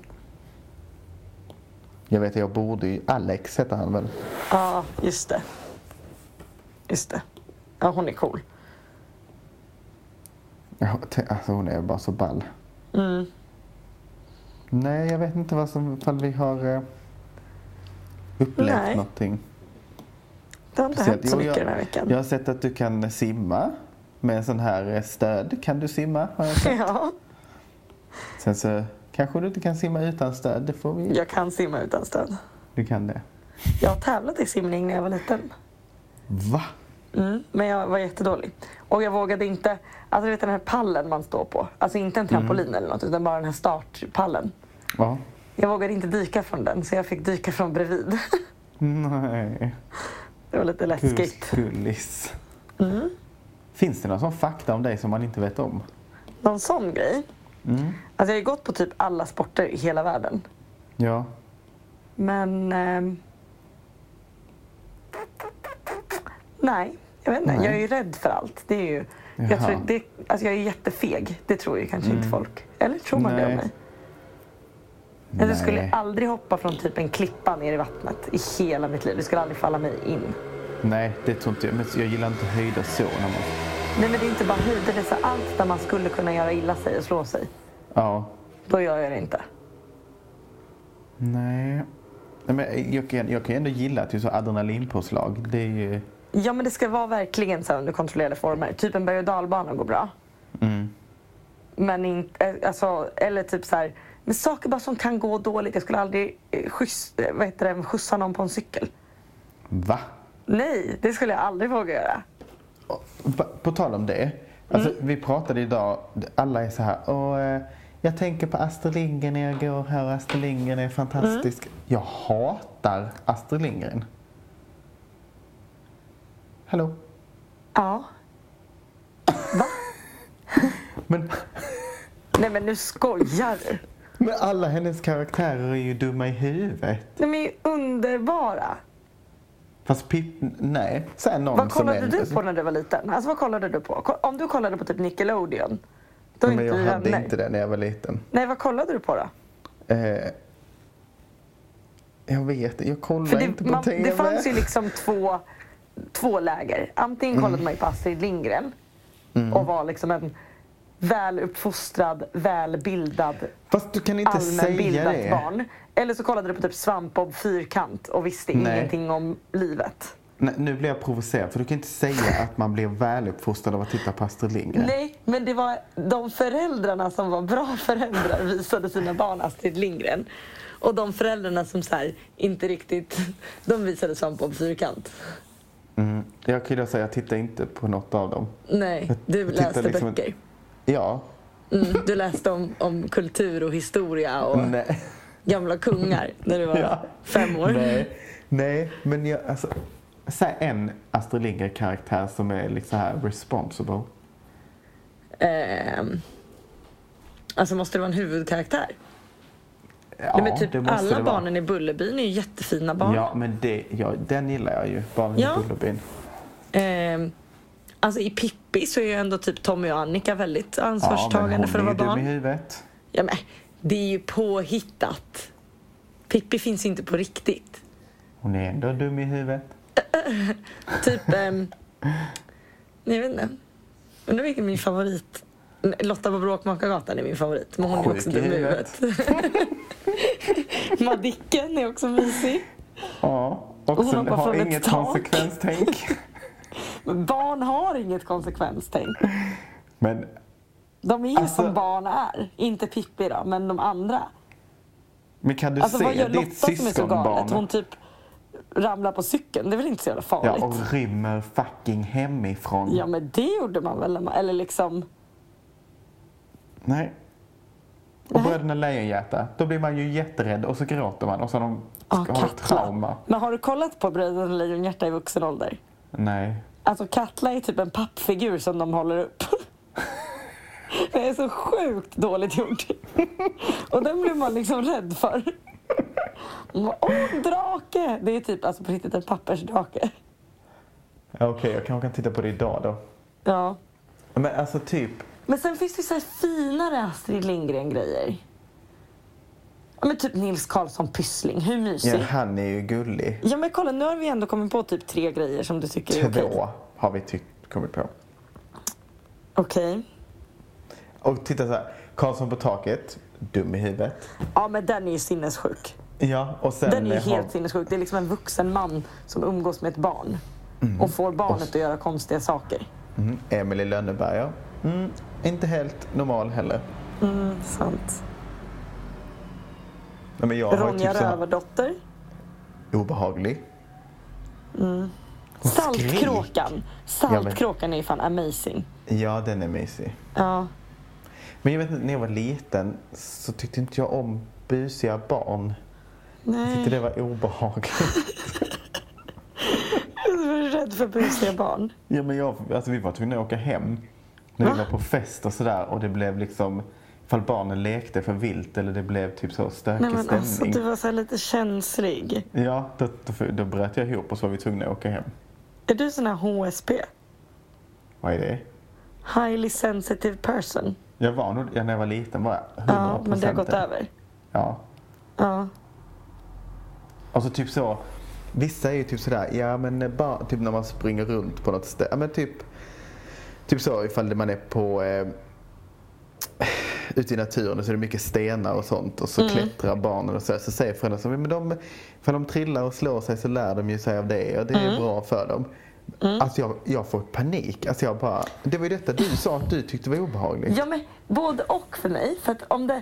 S1: Jag vet att jag borde ju... Alex heter han väl?
S2: Ja, just det. Just det. Ja, hon är cool.
S1: Ja, t- Alltså hon är bara så ball.
S2: Mm.
S1: Nej, jag vet inte vad som... Ifall vi har eh, upplevt
S2: Nej.
S1: någonting.
S2: Det har inte
S1: Speciellt-
S2: hänt så
S1: Jo,
S2: mycket
S1: jag-
S2: den här veckan.
S1: Jag har sett att du kan simma med en sån här eh, stöd. Kan du simma? Har jag sett.
S2: Ja,
S1: Sen så kanske du inte kan simma utan stöd. Det får vi.
S2: jag kan simma utan stöd.
S1: Du kan det.
S2: Jag har tävlat i simning när jag var liten.
S1: Va?
S2: Mm, men jag var jättedålig. Och jag vågade inte, alltså du vet den här pallen man står på. Alltså inte en trampolin eller något utan bara den här startpallen.
S1: Ja.
S2: Jag vågade inte dyka från den så jag fick dyka från bredvid.
S1: Nej.
S2: Det var lite
S1: Hur
S2: läskigt.
S1: skullis.
S2: Mm.
S1: Finns det någon sån fakta om dig som man inte vet om?
S2: Någon sån grej. Alltså jag har ju gått på typ alla sporter i hela världen.
S1: Ja.
S2: Men... ehm, nej, jag vet inte.
S1: Nej.
S2: Jag är ju rädd för allt. Det är ju, jag,
S1: Jaha. Mm.
S2: tror, det, alltså jag är jättefeg. Det tror ju kanske inte folk. Eller tror man det om
S1: Nej.
S2: mig? Alltså, jag skulle
S1: Nej.
S2: aldrig hoppa från typ en klippa ner i vattnet i hela mitt liv. Det skulle aldrig falla mig in.
S1: Nej, det tror inte jag. Men jag gillar inte höjder så. När man...
S2: Nej, men det är inte bara höjder. Det är så här allt där man skulle kunna göra illa sig och slå sig.
S1: Ja.
S2: Då gör jag det inte.
S1: Nej. Nej men jag, kan, jag kan ändå gilla att det är så adrenalinpåslag. Det är ju...
S2: Ja, men det ska vara verkligen så här under kontrollerade former. Typ en berg och dalbana går bra.
S1: Mm.
S2: Men inte, eh, alltså, eller typ så här, men saker bara som kan gå dåligt. Jag skulle aldrig eh, skjuts, eh, vad heter det, skjutsa någon på en cykel.
S1: Va?
S2: Nej, det skulle jag aldrig våga göra.
S1: Va- På tal om det. Alltså, Vi pratade idag, alla är så här. Och, eh, jag tänker på Astrid Lindgren när jag går här och Astrid Lindgren är fantastisk. Jag hatar Astrid Lindgren. Hallå?
S2: Ja.
S1: Men,
S2: Nej men nu skojar du.
S1: men alla hennes karaktärer är ju dumma i huvudet.
S2: De är ju underbara.
S1: Fast Pip, nej. Säg någon
S2: Vad kollade
S1: som är-
S2: du på när du var liten? Alltså vad kollade du på? Ko- Om du kollade på typ Nickelodeon. Då är
S1: Men jag
S2: vi
S1: hade
S2: vänner.
S1: inte det när jag var liten.
S2: Nej, vad kollade du på då?
S1: Eh, jag vet jag kollar
S2: För
S1: inte
S2: det,
S1: på
S2: man,
S1: TV.
S2: det fanns ju liksom två, två läger. Antingen
S1: Mm.
S2: kollade man ju på Astrid Lindgren och var liksom en väluppfostrad, välbildad,
S1: Fast du kan inte säga
S2: allmänbildat
S1: det.
S2: barn. Eller så kollade du på typ Svampbob Fyrkant och visste
S1: Nej.
S2: ingenting om livet.
S1: Nej, nu blir jag provocerad för du kan inte säga att man blir väluppfostrad av att titta på Astrid Lindgren.
S2: Nej, men det var de föräldrarna som var bra föräldrar visade sina barn Astrid Lindgren. Och de föräldrarna som så här, inte riktigt, de visade Svamp om fyrkant.
S1: Mm. Jag kan ju då säga att jag tittar inte på något av dem.
S2: Nej, du
S1: Jag tittar
S2: läste
S1: liksom
S2: böcker.
S1: Ja.
S2: Mm, du läste om, om kultur och historia och
S1: Nej.
S2: gamla kungar när du var
S1: Mm. Ja.
S2: fem år.
S1: Nej. Nej, men jag, alltså. Säg en Astrid Lindgren-karaktär som är liksom så här responsible.
S2: Ehm, alltså måste det vara en huvudkaraktär?
S1: Ja,
S2: Nej, men typ
S1: det måste
S2: alla
S1: det vara.
S2: barnen i Bullerbyn är ju jättefina barn.
S1: Ja, men det, ja, den gillar jag ju. Barnen
S2: Ja.
S1: i Bullerbyn.
S2: Ehm, alltså i Pippi så är ju ändå typ Tommy och Annika väldigt
S1: Ja, men
S2: ansvarstagande
S1: hon
S2: för att
S1: är ju
S2: vara
S1: dum i
S2: barn.
S1: huvudet.
S2: Ja, men, det är ju påhittat. Pippi finns inte på riktigt.
S1: Hon är ändå dum i huvudet.
S2: Typ, ehm, nej, jag vet inte. Undrar vilken min favorit... Nej, Lotta på Bråkmakargatan är min favorit, men hon är
S1: Sjuk
S2: också
S1: i
S2: dum i huvudet. Madicken är också mysig.
S1: Ja,
S2: Och
S1: och
S2: hon
S1: sen
S2: hoppar
S1: har
S2: från ett
S1: inget
S2: tak.
S1: konsekvenstänk.
S2: Men barn har inget konsekvenstänk.
S1: Men
S2: De är ju
S1: Alltså-
S2: som barn är. Inte Pippi då, men de andra.
S1: Men kan du
S2: Alltså
S1: se
S2: vad gör
S1: ditt
S2: Lotta som är så
S1: syskonbarn?
S2: galet? Hon typ ramlar på cykeln. Det är väl inte så jävla
S1: Ja,
S2: farligt?
S1: och rymmer fucking hemifrån.
S2: Ja, men det gjorde man väl? när man- Eller liksom...
S1: Nej. Och Bröderna Lejonhjärta, då blir man ju jätterädd och så gråter man och så har de
S2: Ja,
S1: har ett trauma.
S2: Men har du kollat på Bröderna Lejonhjärta i vuxen ålder?
S1: Nej.
S2: Alltså Katla är typ en pappfigur som de håller upp. Det är så sjukt dåligt gjort. Och den blir man liksom rädd för. Man bara, Åh, en drake! Det är typ alltså på riktigt en pappersdrake.
S1: Okej, jag kanske kan titta på det idag då.
S2: Ja.
S1: Men alltså typ,
S2: Men sen finns det så här finare Astrid Lindgren-grejer. Ja, men typ Nils Karlsson Pyssling, hur mysig?
S1: ja, han är ju gullig.
S2: Ja men kolla, nu har vi ändå kommit på typ tre grejer som du tycker är okej.
S1: Två har vi tyckt, kommit på.
S2: Okej.
S1: Och titta så här, Karlsson på taket, dum i huvudet.
S2: Ja men den är ju sinnessjuk.
S1: Ja, och sen...
S2: Den är ju
S1: har-
S2: helt sinnessjuk. Det är liksom en vuxen man som umgås med ett barn. Och får barnet att göra konstiga saker.
S1: Mm, Emily Lönneberga. Mm, inte helt normal heller.
S2: Mm, sant.
S1: Nej, men jag har ju
S2: Ronja
S1: typ så här,
S2: Rövardotter.
S1: obehaglig. Mm. skrek.
S2: Saltkråkan.
S1: men-
S2: Saltkråkan är ju fan amazing.
S1: Ja, den är mysig.
S2: Ja.
S1: Men jag vet inte, när jag var liten så tyckte inte jag om busiga barn. Jag
S2: Nej,
S1: tyckte det var obehagligt.
S2: jag är rädd för busiga barn.
S1: ja, men jag, alltså, vi var tvungna att åka hem när vi
S2: Va?
S1: var på fest och sådär och det blev liksom ifall barnen lekte för vilt eller det blev typ så stökig
S2: Nej men
S1: stämning.
S2: alltså du var så här lite känslig.
S1: Ja, då, då, då bröt jag ihop och så var vi tvungna att åka hem.
S2: Är du sån här HSP?
S1: Vad är det?
S2: Highly sensitive person?
S1: Jag var nog, ja, när jag var liten var jag 100
S2: Ja, men det har gått över.
S1: Ja.
S2: Ja.
S1: Alltså typ så, vissa är ju typ sådär, ja men bara, typ när man springer runt på något ställe, ja men typ, typ så ifall det man är på, eh, ute i naturen och så är det mycket stenar och sånt och så
S2: Mm.
S1: klättrar barnen och så, så säger föräldrarna så, men de, ifall de trillar och slår sig så lär de ju sig av det och det
S2: Mm.
S1: är bra för dem. Alltså jag, jag får panik. Alltså jag bara, det var ju detta du sa att du tyckte var obehagligt.
S2: Ja, men både och för mig. För att om det,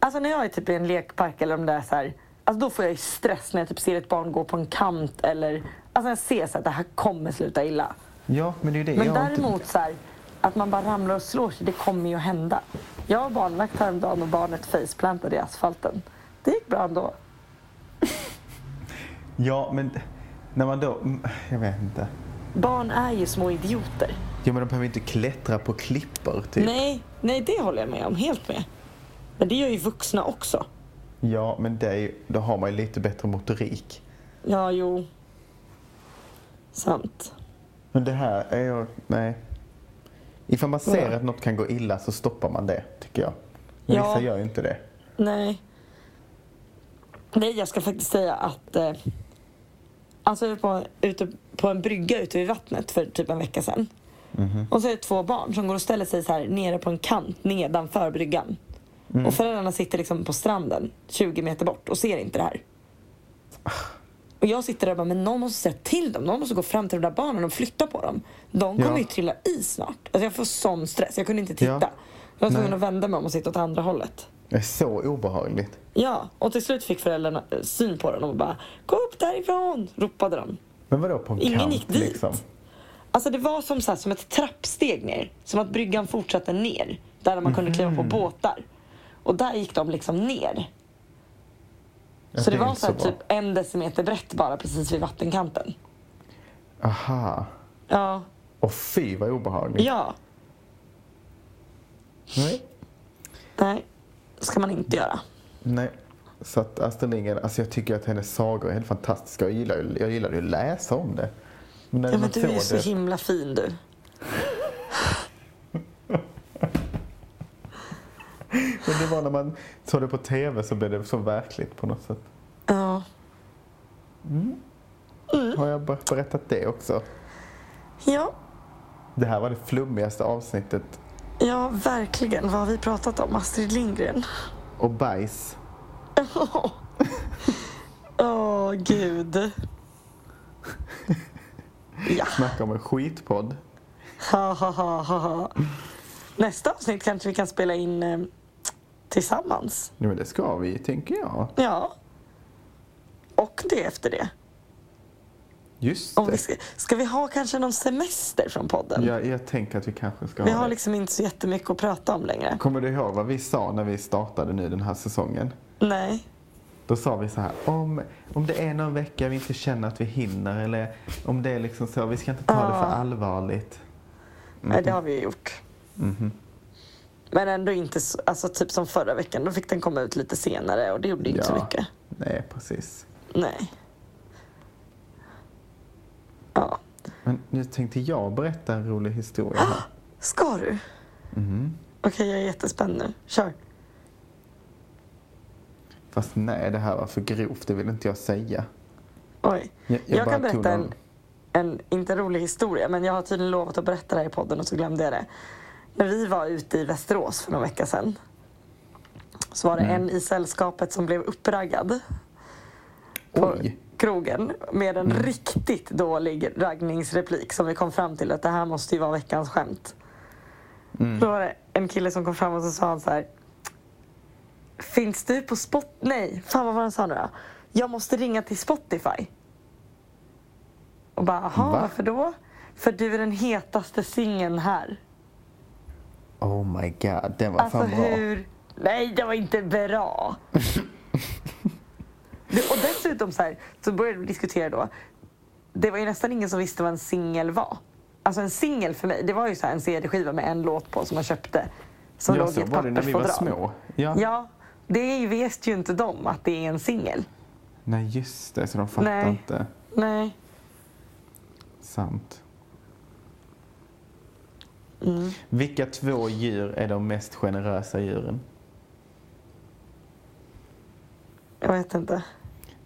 S2: alltså när jag är typ i en lekpark eller om det är så här, alltså då får jag ju stress när jag typ ser ett barn gå på en kant eller alltså jag ser så att det här kommer sluta illa.
S1: Ja, men det är ju det
S2: Men
S1: jag har inte-
S2: däremot så här, att man bara ramlar och slår sig, det kommer ju att hända. Jag var barnvakt häromdagen och barnet faceplantade i asfalten. Det gick bra ändå.
S1: Ja, men när man då, mm, jag vet inte.
S2: Barn är ju små idioter.
S1: Ja men de behöver inte klättra på klippor typ.
S2: Nej, nej, det håller jag med om. Helt med. Men det gör ju vuxna också.
S1: Ja men det är ju, då har man ju lite bättre motorik.
S2: Ja, jo. Sant.
S1: Men det här är jag, nej. Ifall man ser
S2: Ja.
S1: att något kan gå illa så stoppar man det tycker jag. Men
S2: Ja.
S1: vissa gör ju inte det.
S2: Nej. Nej, jag ska faktiskt säga att... Eh, alltså jag var på, ute på en brygga ute vid vattnet för typ en vecka sedan.
S1: Mhm.
S2: Och så är det två barn som går och ställer sig så här nere på en kant nedanför bryggan.
S1: Mm.
S2: Och
S1: Ah.
S2: föräldrarna sitter liksom på stranden 20 meter bort och ser inte det här. Och Och jag sitter där och bara, men någon måste säga till dem. Någon måste gå fram till de där barnen och flytta på dem. De kommer
S1: Ja.
S2: ju trilla i snart. Alltså jag får sån stress. Jag kunde inte titta.
S1: Ja.
S2: Jag var tvungen
S1: Nej.
S2: att vända mig om och sitta åt andra hållet.
S1: Det är så obehagligt.
S2: Ja, och till slut fick föräldrarna eh, syn på den och bara Gå upp därifrån! ropade de.
S1: Men vadå på en
S2: Ingen
S1: kant
S2: gick dit.
S1: liksom?
S2: Alltså det var som, så här, som ett trappsteg ner. Som att bryggan fortsatte ner. Där man kunde kliva på
S1: Mhm.
S2: båtar. Och där gick de liksom ner.
S1: Ja,
S2: så det,
S1: det är
S2: var
S1: inte
S2: så här,
S1: så bra.
S2: typ en decimeter brett bara precis vid vattenkanten.
S1: Aha. Mm.
S2: Ja.
S1: Och fy vad obehagligt.
S2: Ja.
S1: Nej.
S2: Nej. ska man inte göra.
S1: Nej. Så att Astrid Lindgren, alltså jag tycker att hennes sagor är helt fantastiska. Jag gillar ju jag gillar ju att läsa om det. Men när
S2: Ja, men du är ju så
S1: det,
S2: himla fin du.
S1: men det var när man såg det på TV så blev det så verkligt på något sätt.
S2: Ja. Mm.
S1: Har jag ber- berättat det också?
S2: Ja.
S1: Det här var det flummigaste avsnittet.
S2: Ja, verkligen. Vad har vi pratat om? Astrid Lindgren.
S1: Och bajs.
S2: Åh, Åh, gud. Ja,
S1: Snacka om en skitpodd.
S2: ha, ha, ha, ha, ha. Nästa avsnitt kanske vi kan spela in eh, tillsammans.
S1: Nej men det ska vi, tänker jag.
S2: Ja. Och det efter det.
S1: Just
S2: Om vi
S1: det.
S2: ska, ska vi ha kanske någon semester från podden?
S1: Jag, jag tänker att vi kanske ska
S2: Vi
S1: ha
S2: har
S1: det.
S2: liksom inte så jättemycket att prata om längre.
S1: Kommer du ihåg vad vi sa när vi startade nu den här säsongen?
S2: Nej.
S1: Då sa vi så här, om, om det är någon vecka vi inte känner att vi hinner eller om det är liksom så, vi ska inte ta det
S2: Ja.
S1: för allvarligt.
S2: Nej, det har vi ju gjort. Men ändå inte så, alltså typ som förra veckan, då fick den komma ut lite senare och det gjorde ju inte så
S1: Ja.
S2: mycket.
S1: Nej, precis.
S2: Nej. Ja.
S1: Men nu tänkte jag berätta en rolig historia här.
S2: Ah.
S1: Mhm.
S2: Ska du? Okej, jag är jättespänd nu. Kör.
S1: Fast nej, det här var för grovt, det vill inte jag säga.
S2: Oj.
S1: Jag,
S2: Jag,
S1: bara
S2: kan
S1: tog
S2: berätta en,
S1: någon-
S2: en, inte en rolig historia, men jag har tydligen lovat att berätta det här i podden och så glömde jag det. När vi var ute i Västerås för någon vecka sedan så var det en i sällskapet som blev uppraggad på
S1: Oj!
S2: krogen med en riktigt dålig raggningsreplik som vi kom fram till att det här måste ju vara veckans skämt. Då var det en kille som kom fram och så sa han så här. Finns du på spot... Nej, fan vad var det han sa nu då? Jag måste ringa till Spotify. Och bara, jaha,
S1: Va?
S2: varför då? För du är den hetaste singeln här.
S1: Oh my god, den var
S2: Alltså
S1: fan bra.
S2: hur... Nej, det var inte bra. Det- och dessutom så, här, så började vi diskutera då. Det var ju nästan ingen som visste vad en singel var. Alltså en singel för mig, det var ju så här en CD-skiva med en låt på som man köpte. Som
S1: Ja,
S2: låg i
S1: så
S2: ett
S1: var det när vi var
S2: pappersfodral.
S1: små. Ja.
S2: Ja, det visste ju inte de att det är en singel.
S1: Nej, just det, så de fattar
S2: Nej.
S1: inte.
S2: Nej.
S1: Sant.
S2: Mm.
S1: Vilka två djur är de mest generösa djuren?
S2: Jag vet inte.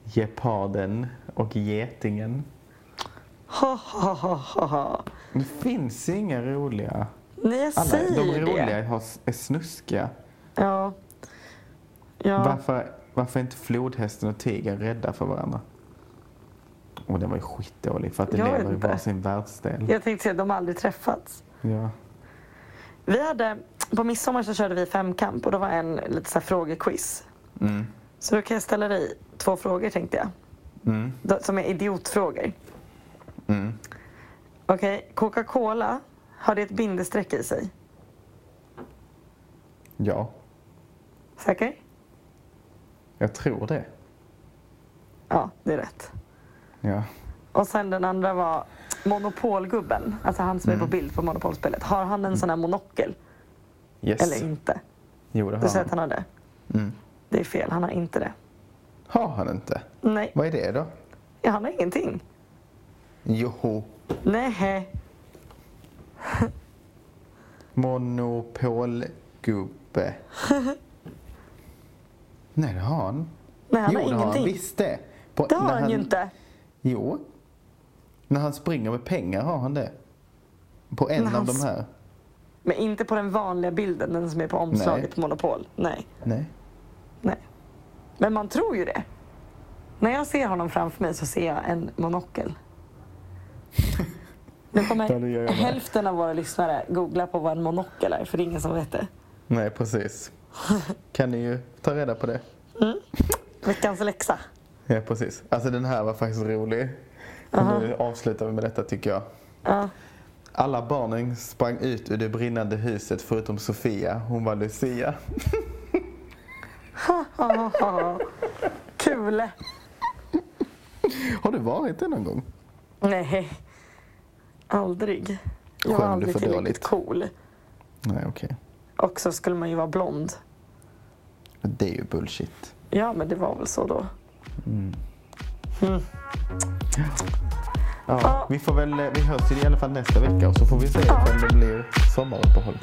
S1: Geparden och getingen.
S2: Ha, ha, ha, ha, ha.
S1: Det finns ju inga roliga.
S2: Nej, jag
S1: Alla
S2: säger
S1: de roliga
S2: det.
S1: har, är snuskiga.
S2: Ja. Ja.
S1: Varför, varför är inte flodhästen och tigern rädda för varandra? Och den var ju skitdålig för att den
S2: Jag
S1: lever
S2: vet
S1: i
S2: inte.
S1: var sin världsdel.
S2: Jag tänkte säga att de har aldrig träffats.
S1: Ja.
S2: Vi hade, på midsommar så körde vi femkamp och då var en lite så här frågequiz.
S1: Mm.
S2: Så då kan jag ställa dig två frågor tänkte jag.
S1: Mm.
S2: Då- Som är idiotfrågor.
S1: Mm.
S2: Okej, Coca-Cola, har det ett bindestreck i sig?
S1: ja,
S2: Säker?
S1: jag tror det.
S2: Ja, det är rätt.
S1: Ja.
S2: Och sen den andra var Monopolgubben, alltså han som är
S1: Mm.
S2: på bild på Monopolspelet. Har han en sån här monokel
S1: Yes.
S2: eller inte?
S1: Jo, det
S2: Du säger
S1: har
S2: att
S1: han.
S2: han har det.
S1: Mm.
S2: Det är fel, han har inte det.
S1: Har han inte?
S2: Nej,
S1: Vad är det då?
S2: ja, han har ingenting.
S1: Joho.
S2: Nej.
S1: Monopolgubbe. Nej, det har han.
S2: Nej, han
S1: jo,
S2: har
S1: det har han
S2: ingenting.
S1: visst det. På-
S2: Det har
S1: när
S2: han ju inte.
S1: Jo. När han springer med pengar har han det. På en
S2: När
S1: av
S2: han
S1: de här.
S2: Men inte på den vanliga bilden, den som är på omslaget
S1: Nej.
S2: på Monopol. Nej.
S1: Nej.
S2: Nej. Men man tror ju det. När jag ser honom framför mig så ser jag en monokel. Nu
S1: Ja, det gör
S2: kommer
S1: jag med.
S2: hälften av våra lyssnare googla på vad en monokel är, för det är ingen som vet det.
S1: Nej, precis. Kan ni ju ta reda på det.
S2: Veckans läxa.
S1: Ja, precis. Alltså den här var faktiskt rolig. Nu avslutar vi med detta tycker jag.
S2: Ja.
S1: Alla barnen sprang ut ur det brinnande huset förutom Sofia. Hon var Lucia.
S2: Kul!
S1: Har du varit det någon gång?
S2: Nej, aldrig. Jag var
S1: Skämde
S2: aldrig
S1: för
S2: tillräckligt
S1: dåligt.
S2: cool.
S1: Nej, okej.
S2: Och så skulle man ju vara blond.
S1: Men Det är ju bullshit.
S2: Ja, men det var väl så då.
S1: eh, Ja, vi får väl, vi hörs i alla fall nästa vecka och så får vi se om det blir sommaruppehåll.